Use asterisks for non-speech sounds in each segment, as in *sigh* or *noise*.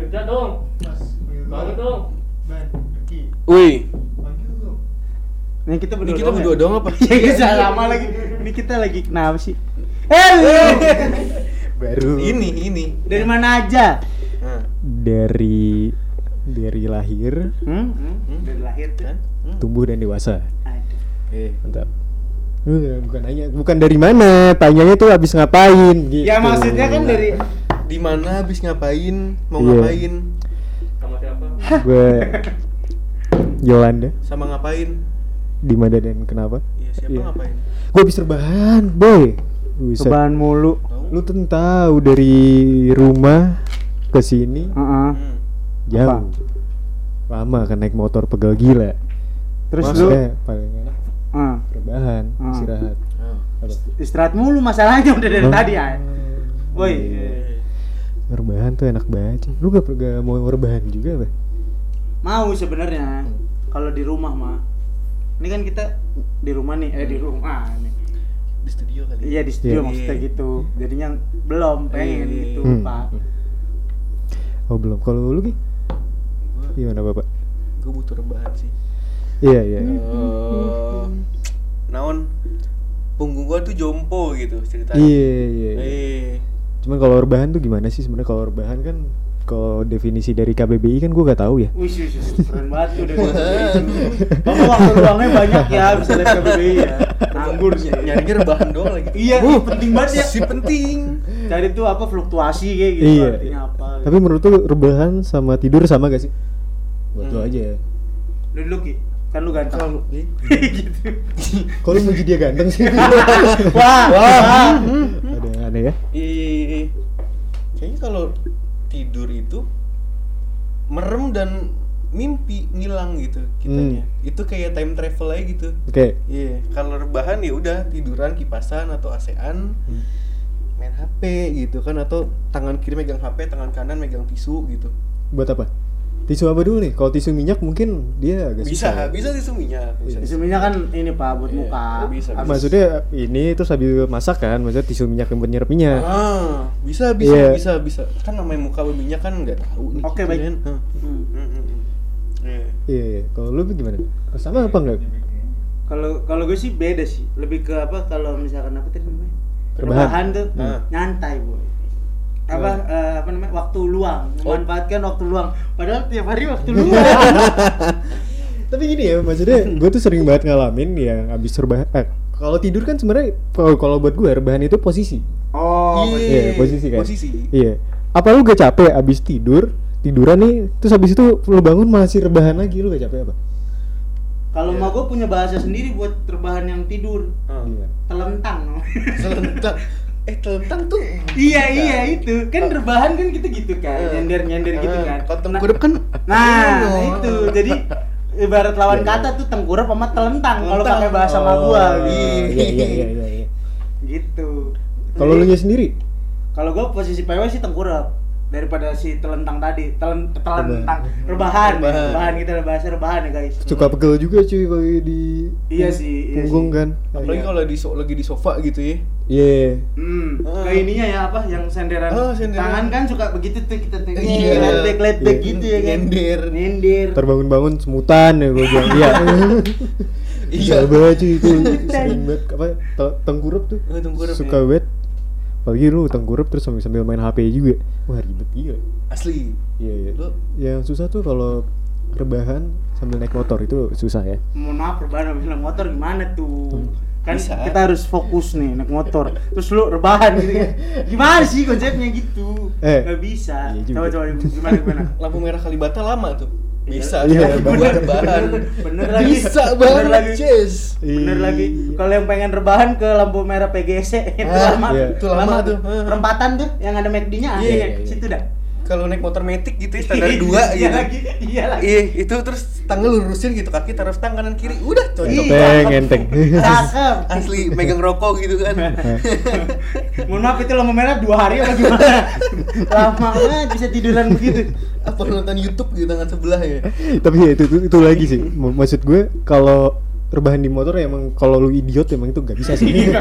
kerja dong Mas, panggil bangun dong Ben, Ki, Wih, panggil dong. Ini kita ini berdua kita doang berdua *laughs* ya? doang apa? Ya kita lama lagi. Ini kita lagi kenapa sih? Eh, baru. ini, ini. Dari mana aja? Nah. dari dari lahir Hmm? Dari lahir tuh. Kan? Hmm. tumbuh dan dewasa Aduh. Eh. mantap Eh, bukan nanya bukan dari mana tanyanya tuh habis ngapain gitu Ya maksudnya kan dari Di mana habis ngapain? Mau Iya. ngapain? sama siapa gue Yolanda Sama ngapain? di mana dan kenapa Iya, siapa Iya. ngapain? gue habis rebahan boy Buset. Cobaan mulu. Tahu? lu tuh tahu dari rumah ke sini Heeh. Hmm. jauh lama kan naik motor pegel gila Terus lu Maksudnya paling enak heeh. rebahan Hmm. istirahat Ah. Apa? istirahat mulu masalahnya udah dari Hah? tadi ya. Woi. Eh. rebahan tuh enak banget lu gak, gak mau rebahan juga apa Mau sebenarnya kalau di rumah mah. Ini kan kita di rumah nih, eh di Hmm. rumah nih. Di studio kali. ya. Iya di studio Iya. maksudnya gitu. Jadinya belum pengen Iya. gitu, Hmm. Pak. oh belum kalau lu Gi? gimana bapak Gue butuh rebahan sih. iya iya Eh, naon punggung gua tuh jompo gitu ceritanya. iya iya iya. Eh, cuman kalau rebahan tuh gimana sih sebenarnya kalau rebahan kan kalau definisi dari KBBI kan gua gak tahu ya Wih, wih, wih, keren banget tuh dari Kamu waktu luangnya banyak ya, bisa lihat KBBI ya. Anggur sih. nyarinya rebahan doang lagi. Iya, ih, penting banget ya. Si penting. Cari tuh apa fluktuasi kayak gitu, iya artinya apa. tapi menurut lu rebahan sama tidur sama gak sih buat lu Hmm. aja ya lu dulu Ki, kan lu ganteng. Kalau eh, kalau muji dia ganteng sih Wah, wah. ada yang aneh ya eh, kayaknya kalau tidur itu merem dan mimpi ngilang gitu kitanya. Itu kayak time travel aja gitu. oke Iya, kalau rebahan ya udah tiduran kipasan atau ASEAN main HP gitu kan atau tangan kiri megang HP, tangan kanan megang tisu gitu. buat apa tisu apa dulu nih kalau tisu minyak mungkin dia agak susah. Bisa, ya. bisa tisu minyak, bisa. tisu- Sebenarnya kan ini Pak buat Iya, muka. bisa, bisa. Habis- maksudnya ini terus habis masak kan maksudnya tisu minyak yang buat nyerap minyak Ah, bisa bisa Iya. bisa bisa. Kan namanya muka berminyak kan nggak tahu nih. Oke, gitu baik. kan. Hah. Hmm. Mm, mm, mm. Iya. Iya, iya. kalau lu gimana? Sama apa enggak? Kalau kalau gue sih beda sih, lebih ke apa kalau misalkan apa tadi namanya? Rebahan. Rebahan tuh Hmm. nyantai, Boy. Apa Rebahan. eh, apa namanya? Waktu luang, Oh. memanfaatkan waktu luang. Padahal tiap hari waktu luang. Tapi gini ya, *laughs* maksudnya gue tuh sering banget ngalamin yang abis rebahan. Eh, kalau tidur kan sebenarnya kalau kalau buat gue rebahan itu posisi. oh, Iya, posisi kan. Posisi. Iya. Apa lu gak capek abis tidur? Tiduran nih, terus abis itu lu bangun masih rebahan lagi, lu gak capek apa? kalau Iya. mau gue punya bahasa sendiri buat rebahan yang tidur, Ah. Iya. telentang. Telentang. Eh, telentang tuh. iya, iya itu. Kan rebahan kan gitu gitu kan, Eh. nyender-nyender gitu Ah, kan. Kalau Nah, tengkurap kan Nah, Oh. itu. Jadi ibarat lawan kata tuh tengkurap sama telentang kalau Telentang. pakai bahasa sama gua Oh, gitu. Iya, iya, iya, iya, iya. gitu. Kalau lu Jadi, nya sendiri? kalau gua posisi PW sih tengkurap daripada si telentang tadi, telen telentang rebahan, gitu, Rebahan. rebahan kita ada bahasa rebahan ya guys. Suka pegel juga cuy kalau di Iya sih, iya punggung sih. kan. Apalagi kalau di so- lagi di sofa gitu ya. Iya. Hmm, Ah. ke ininya ya apa yang senderan. Oh, senderan. Tangan kan suka begitu tuh kita tuh. Iya. Ledek ledek Iya. gitu ya kan. Nyender. Nyender. Terbangun-bangun semutan ya gue bilang iya. Iya banget cuy itu sering banget apa ya? te- tengkurap tuh. Oh, tengkurap, Suka ya. banget. Apalagi lu tengkurap terus sambil sambil main HP juga. Wah ribet gila. Asli. Iya iya. Lu- Yang susah tuh kalau rebahan sambil naik motor itu susah ya. mohon maaf rebahan habis naik motor gimana tuh Hmm. kan Bisa. kita harus fokus nih naik motor terus lu rebahan gitu *laughs* kan gimana sih konsepnya gitu Eh. nggak bisa Iya juga. coba coba gimana *laughs* gimana Lampu merah Kalibata lama tuh. Bisa. Iya, Iya, bener. rebahan. Bener lagi. Bisa banget. Bener lagi. Yes. bener lagi Iya. kalau yang pengen rebahan ke lampu merah PGC eh, itu Ah, lama iya. Itu lama tuh. Ah. rempatan tuh yang ada McD-nya ada Iya, ya, iya, iya. situ dah Kalau naik motor metik gitu ya, standar dua *laughs* iya gitu. lagi iya lagi Iya, itu terus tangan lurusin gitu, kaki taruh stang kanan kiri. Udah, Iya. cocok. Enteng enteng. cakep Asli megang rokok gitu kan. *laughs* mohon maaf itu lampu merah dua hari apa gimana *laughs* lama banget bisa tiduran begitu Apa nonton YouTube di tangan sebelah ya? Tapi ya itu, itu itu lagi sih. M- Maksud gue kalau rebahan di motor emang kalau lu idiot emang itu nggak bisa sih. *laughs*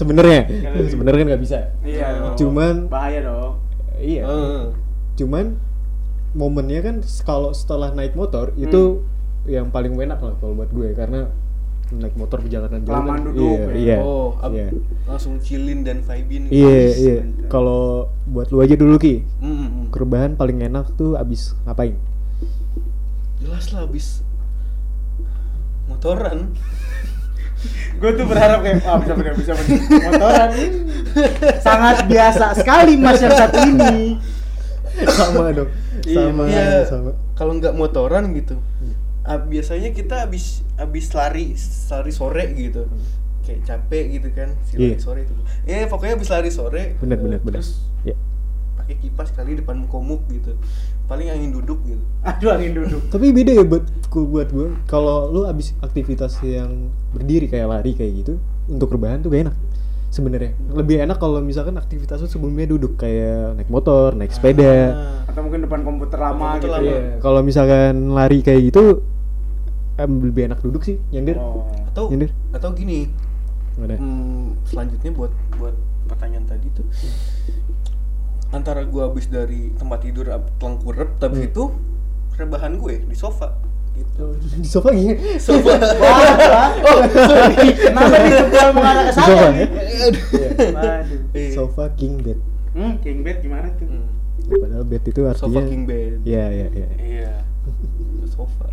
Sebenarnya sebenarnya kan nggak bisa. iya dong. Cuman- Oh, Ah. bahaya dong Iya. Heeh. cuman momennya kan s- kalau setelah naik motor Hmm. itu yang paling enak lah kalau buat gue karena naik motor perjalanan jauh. Lama kan- duduk Iya, iya. ya. oh ab- iya. langsung chillin dan vibin Iya, iya. Kalau buat lu aja dulu Ki, Mm, mm, mm. kerbahan paling enak tuh abis ngapain? *laughs* jelas lah abis *laughs* motoran Gue tuh berharap kayak ah bisa bener bisa bener motoran sangat biasa sekali masyarakat ini. sama dong. Sama, Iya, sama. Hmm. kalau nggak motoran gitu ah, biasanya kita abis abis lari lari sore gitu kayak capek gitu kan si lari Iya. sore itu ya pokoknya abis lari sore Bener, bener, bener. terus Iya. pakai kipas kali depan komuk gitu paling angin duduk gitu Aduh angin duduk. Tapi beda ya buat ku- buat gue. Kalau lu abis aktivitas yang berdiri kayak lari kayak gitu, untuk rebahan tuh gak enak. Sebenarnya lebih enak kalau misalkan aktivitas lu sebelumnya duduk kayak naik motor, naik sepeda. Ah. Atau mungkin depan komputer Komputer lama gitu. lama. ya. Iya, Kalau misalkan lari kayak gitu em, lebih enak duduk sih, nyender. Oh. atau Nyindir. atau gini Gimana? Hmm, selanjutnya buat buat pertanyaan tadi tuh antara gua habis dari tempat tidur ab- telengkurep tapi Hmm. itu rebahan gue di sofa *laughs* gitu Di sofa gini. sofa Wah, wah. Kenapa nih sebuah mengarah ke Di saya sofa nih? ya? Iya. Waduh. Eh, Sofa king bed. Hmm, king bed gimana tuh? hmm, Padahal bed itu sofa artinya. king bed Iya iya iya. iya sofa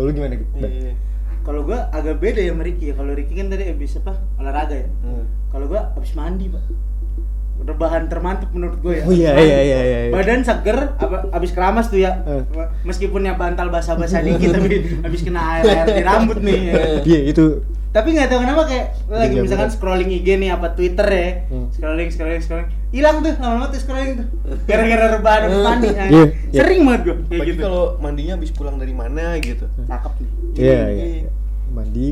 Lalu gimana gitu? iya Kalau gua agak beda ya sama Ricky ya. Kalau Ricky kan tadi habis apa? Olahraga ya. Hmm. Kalau gua habis mandi, Pak. Rebahan termantap menurut gua ya. Oh iya Mandi. iya iya iya. iya. Badan seger, ab- abis keramas tuh ya. Eh. Meskipun ya bantal *laughs* basah-basah dikit tapi abis kena air air di rambut nih. ya. Iya itu Tapi nggak tahu kenapa kayak lu lagi Iya, misalkan bener. scrolling IG nih apa Twitter ya. Hmm. Scrolling scrolling scrolling. Hilang tuh lama-lama tuh scrolling tuh. Gara-gara rebahan abis mandi. ya. Iya, iya. Sering banget gua kayak Apalagi gitu. kalau mandinya habis pulang dari mana gitu *laughs* Cakep nih. Iya, Iya, iya. iya. Mandi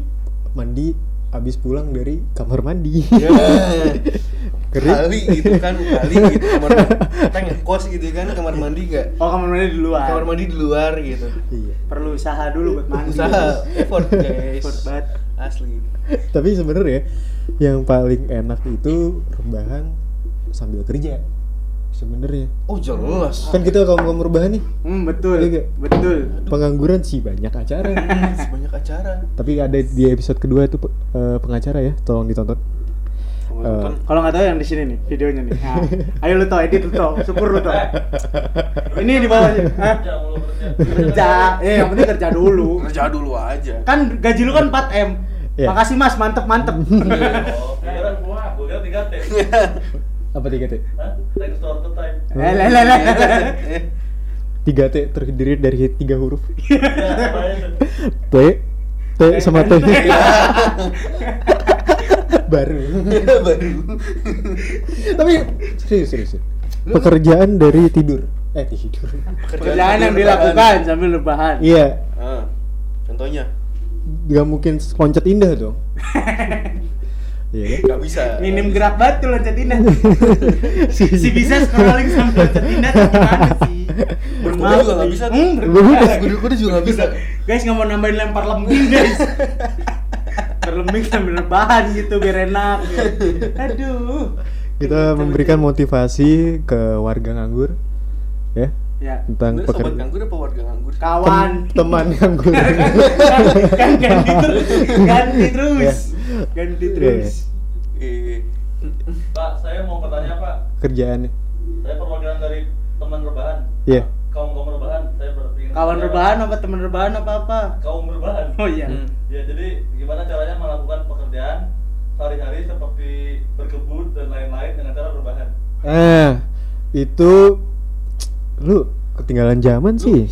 mandi abis pulang dari kamar *laughs* mandi. ya Kering. kali gitu kan kali gitu kamar *laughs* kita ngekos gitu kan kamar mandi nggak Oh kamar mandi di luar. kamar mandi di luar gitu Iya. Perlu usaha dulu buat mandi. usaha effort guys Effort banget. asli Tapi sebenarnya yang paling enak itu rebahan sambil kerja. Sebenarnya. oh jelas Kan kita kalau ngomong rebahan nih, Hmm, betul. Iya, Kak. betul. pengangguran sih banyak *laughs* acara. sebanyak acara Tapi ada di episode kedua itu eh, pengacara ya, tolong ditonton. Eh, Kalau nggak tahu yang di sini nih videonya nih. *laughs* Nah, ayo lu tau, edit lu tau, syukur lu tau. Ini di bawah sini. Hah? Kerja, eh yang penting kerja dulu. kerja dulu *laughs* aja Kan gaji lu kan 4 m. Iya. Makasih mas, mantep *laughs* mantep. apa 3T? *laughs* Iya, Eh, lah, lah, lah. Eh, 3T terdiri dari tiga huruf. T, T sama T. *laughs* Baru. baru Tapi serius serius. serius. Pekerjaan dari tidur. Eh tidur. Kerjaan yang sambil dilakukan sambil rebahan. *laughs* Iya, rebahan. Ah, contohnya nggak mungkin loncat indah dong. Iya. kan? nggak bisa Minim gerak banget tuh loncat *laughs* indah. si bisa scrolling sambil loncat indah tuh gimana sih? Berkuda Maaf, juga nggak bisa. Hmm, Berkuda. berkuda. Kudu-kudu juga nggak bisa guys nggak mau nambahin lempar lembing guys berlembing sambil rebahan gitu biar enak aduh Kita memberikan motivasi ke warga nganggur, ya ya tentang Bener, sobat pekerjaan. nganggur apa warga nganggur kawan teman nganggur. kan ganti terus ganti terus ganti terus Eh, Pak, saya mau bertanya Pak. Kerjaannya. Saya perwakilan dari teman rebahan. Iya. Kaum kaum rebahan. Saya berpikir. kawan rebahan apa teman rebahan apa apa Kaum rebahan. oh iya hmm. Ya jadi gimana caranya melakukan pekerjaan sehari-hari seperti berkebun dan lain-lain dengan cara rebahan. Ah, itu lu ketinggalan zaman sih.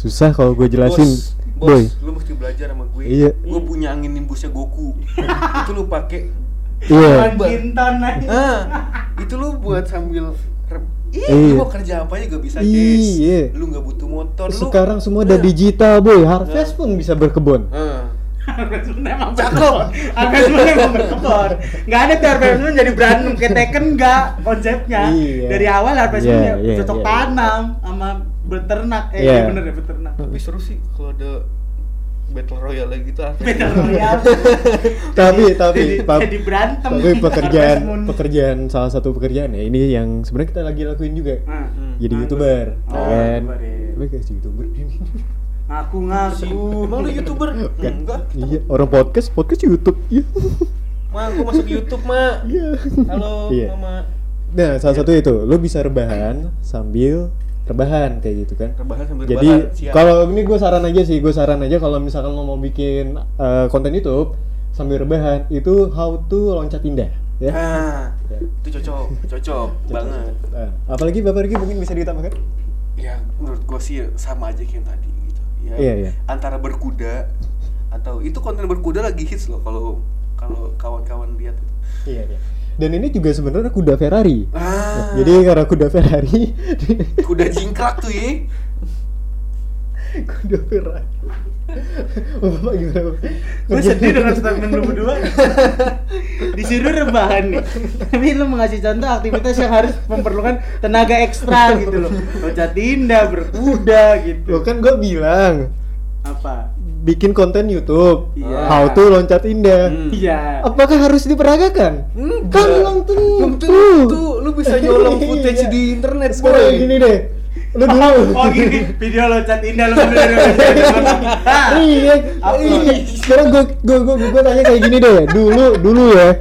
Susah kalau gue jelasin, bos, bos boy. lu mesti belajar sama gue Iya. gue punya angin nimbusnya *laughs* Goku itu lu pakai Iya. Kawan Kintan aja. ah itu lu buat sambil rem- Ih, Iya. lu mau kerja apa juga bisa, Iya. Jess. Lu nggak butuh motor, lu. Sekarang semua Iya. udah digital, boy. Harvest pun bisa berkebun. Ah. Harvest Moon emang berkebun. Harvest Moon emang berkebun. Nggak ada tuh Harvest Moon jadi berantem kayak Tekken nggak konsepnya. Iya. Dari awal Harvest Moon Iya, ya iya, cocok iya. tanam sama beternak. Eh Iya. iya bener ya beternak. Tapi seru sih kalau ada battle royale gitu. Battle Royale. tapi *laughs* tapi Iya. Jadi- pap- jadi berantem tapi nih, pekerjaan *laughs* Harvest Moon. pekerjaan salah satu pekerjaan ya ini yang sebenarnya kita lagi lakuin juga Nah. jadi Nah, youtuber Oh, kan youtuber, iya. Emang kayak si youtuber *laughs* ngaku ngaku Emang lu youtuber? Enggak. Iya, orang podcast, podcast YouTube. Iya. Ma, aku masuk YouTube, Ma. Iya. Halo, Iya. Mama. Nah, salah satu itu, lo bisa rebahan sambil rebahan kayak gitu kan. Rebahan sambil Jadi rebahan, siap. kalau ini gue saran aja sih, gue saran aja kalau misalkan lo mau bikin eh, konten YouTube sambil rebahan itu how to loncat indah ya. Ah, itu cocok, cocok banget. Nah, apalagi Bapak Riki mungkin bisa ditambahkan? Ya, menurut gua sih sama aja kayak yang tadi gitu. Ya, Iya, iya. Antara berkuda atau itu konten berkuda lagi hits loh kalau kalau kawan-kawan lihat itu. Iya, iya. Dan ini juga sebenarnya kuda Ferrari. Ah, Jadi karena kuda Ferrari, *laughs* kuda jingkrak tuh ya. kuda Ferrari. Oh, Bapak gimana? Bapak? gue sedih dengan statement lu *laughs* berdua disuruh rebahan nih tapi lu mengasih contoh aktivitas yang harus memerlukan tenaga ekstra gitu loh loncat indah berkuda Lo gitu kan gue bilang apa bikin konten YouTube, Iya. how to loncat indah. Hmm. iya Apakah harus diperagakan? Kan belum tentu. Belum tentu lu bisa nyolong footage Iya. di internet, Sekarang boy. gini deh, lu dulu. *laughs* oh gini video loncat indah lu Nah. Ah, *laughs* bener-bener iya, iya. Sekarang gua gua gua gua tanya kayak gini deh. Dulu dulu ya.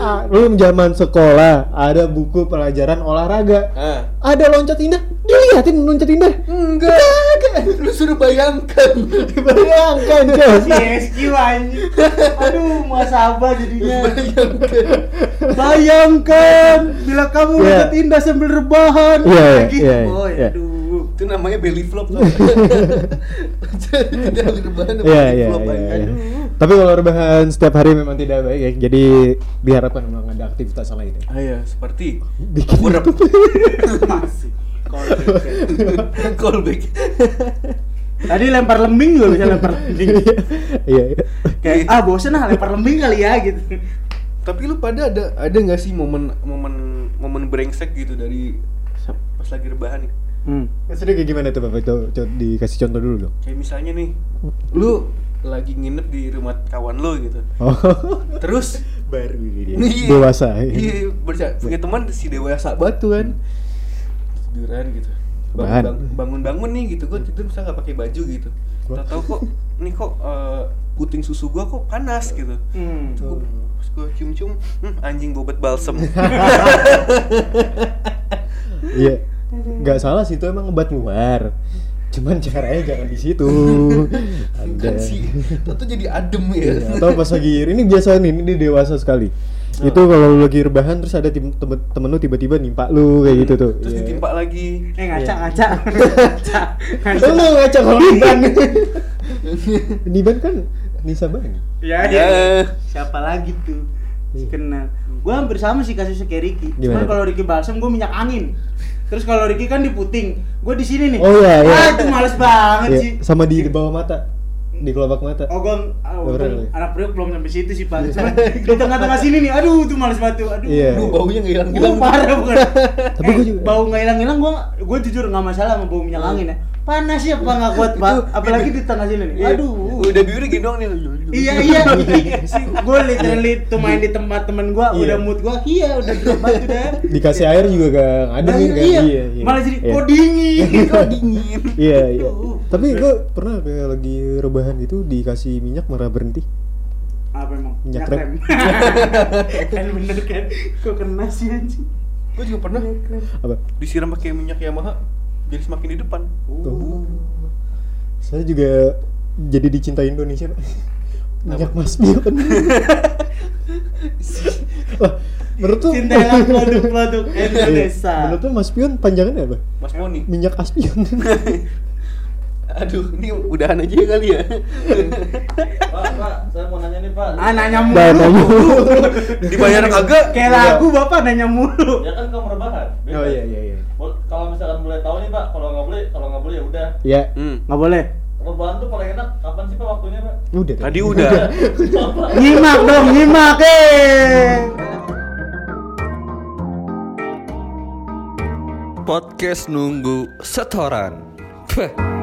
ah, lu zaman sekolah ada buku pelajaran olahraga. Ah. Ada loncat indah, diliatin loncat indah. Enggak. Lu suruh bayangkan. *laughs* Bayangkan, Jos. CSQ anjing aduh muasabah Iya. jadinya bayangkan. bayangkan bila kamu Iya. loncat indah sambil rebahan Iya, iya, lagi iya, boy iya. aduh Itu namanya belly flop. *laughs* tuh. *laughs* Jadi tidak rebahan sama Iya, belly iya, flop. iya, anjing. iya. Aduh. Tapi kalau rebahan setiap hari memang tidak baik ya. Jadi diharapkan memang ada aktivitas lain ya. Ah, iya, seperti Bikin Urep. masih Kocak. callback. Tadi lempar lembing juga bisa lempar lembing. Iya. iya. Kayak ah bosen ah lempar lembing kali ya gitu. Tapi lu pada ada ada nggak sih momen momen momen brengsek gitu dari pas lagi rebahan nih? Hmm. Maksudnya kayak gimana tuh Bapak? Tuh, co- dikasih contoh dulu dong. Kayak misalnya nih, lu lagi nginep di rumah kawan lu gitu. Oh, Terus baru ini dia. Iya. Dewasa. Iya, bersa- punya teman si dewasa banget tuh kan. Tiduran gitu. Apaan? Bangun- bang- Bangun-bangun nih gitu, gue tidur misalnya nggak pakai baju gitu. Gua- Tahu kok, nih kok eh, puting susu gua kok panas gitu. Hmm. Gua- Terus gue cium-cium, hmm, anjing bobot balsem. *laughs* Iya. Gak salah sih itu emang obat luar. Cuman caranya jangan di situ. Kan Ada. sih, tentu jadi adem ya. Iya, Atau *laughs* pas lagi ini biasa nih, ini dewasa sekali. Itu kalau lu lagi rebahan terus ada tim- temen, temen lu tiba-tiba nimpa lu kayak gitu tuh. Hmm. Terus Iya. ditimpa lagi. Eh ngaca *laughs* ngaca. ngaca. ngaca. Lu ngaca kalau Niban. *laughs* Iya. Niban kan Nisa Bani. Ya, ya. Siapa lagi tuh? Si Iya. Kenal. Gua hampir sama sih kasusnya kayak Ricky. Gimana Cuman tuh? kalau Ricky balsam gua minyak angin. Terus kalau Ricky kan di puting, gua di sini nih. Oh, iya, iya. Ah, itu males banget Iya, sih. sama di, di bawah mata. Di kelopak mata. Oh, gua, ah, Gak pernah untung lu ya? anak priok belum sampai situ sih, Pak. Cuman di tengah-tengah sini nih, aduh, itu males banget tuh. Aduh. Iya. Aduh, baunya nggak hilang Gila parah bukan. *laughs* Tapi Tapi gua juga- bau nggak hilang hilang gue gue jujur nggak masalah sama bau minyak angin ya. Panas ya pak nggak kuat pak. Apalagi di tengah sini nih. Iya. Aduh. Iya. Udah biru gini doang nih. *laughs* Iya iya. gue literally tuh main di tempat temen gue Iya. udah mood gue iya udah drop banget udah. Dikasih air juga gak ada Nah, nih kan. iya. Malah jadi iya. kok dingin. *laughs* Kok dingin. Iya, iya. Aduh. Tapi gue pernah kayak lagi rebahan gitu dikasih minyak marah berhenti. Apa emang? Minyak Minyak rem. rem. *laughs* Kan bener kan. Kok kena sih anjing. Gue juga pernah Apa? disiram pakai minyak Yamaha jadi semakin di depan. Uh, Tuh. Oh. Saya juga jadi dicintai Indonesia, Pak. Minyak Mas Bio kan. Wah, menurut tuh Iya. Cintailah *laughs* produk-produk Indonesia. Menurut tuh Mas Pion panjangannya apa? Mas Moni. Minyak Aspion. Aduh, ini udahan aja ya kali ya. Pak, Pak, saya mau nanya nih, Pak. Ah nanya Dan mulu. *laughs* Dibayar kagak? Iya. Kayak lagu bapak nanya mulu. Ya kan kamu rebahan. bebas. Oh iya iya iya. Bol- Kalau misalkan boleh tahu nih, Pak, kalau nggak boleh, kalau nggak boleh ya udah. Ya, Hmm. Nggak boleh. Rebahan tuh paling enak kapan sih Pak waktunya, Pak? udah Tadi *laughs* udah. *laughs* Nyimak dong, nyimak eh. Podcast nunggu setoran.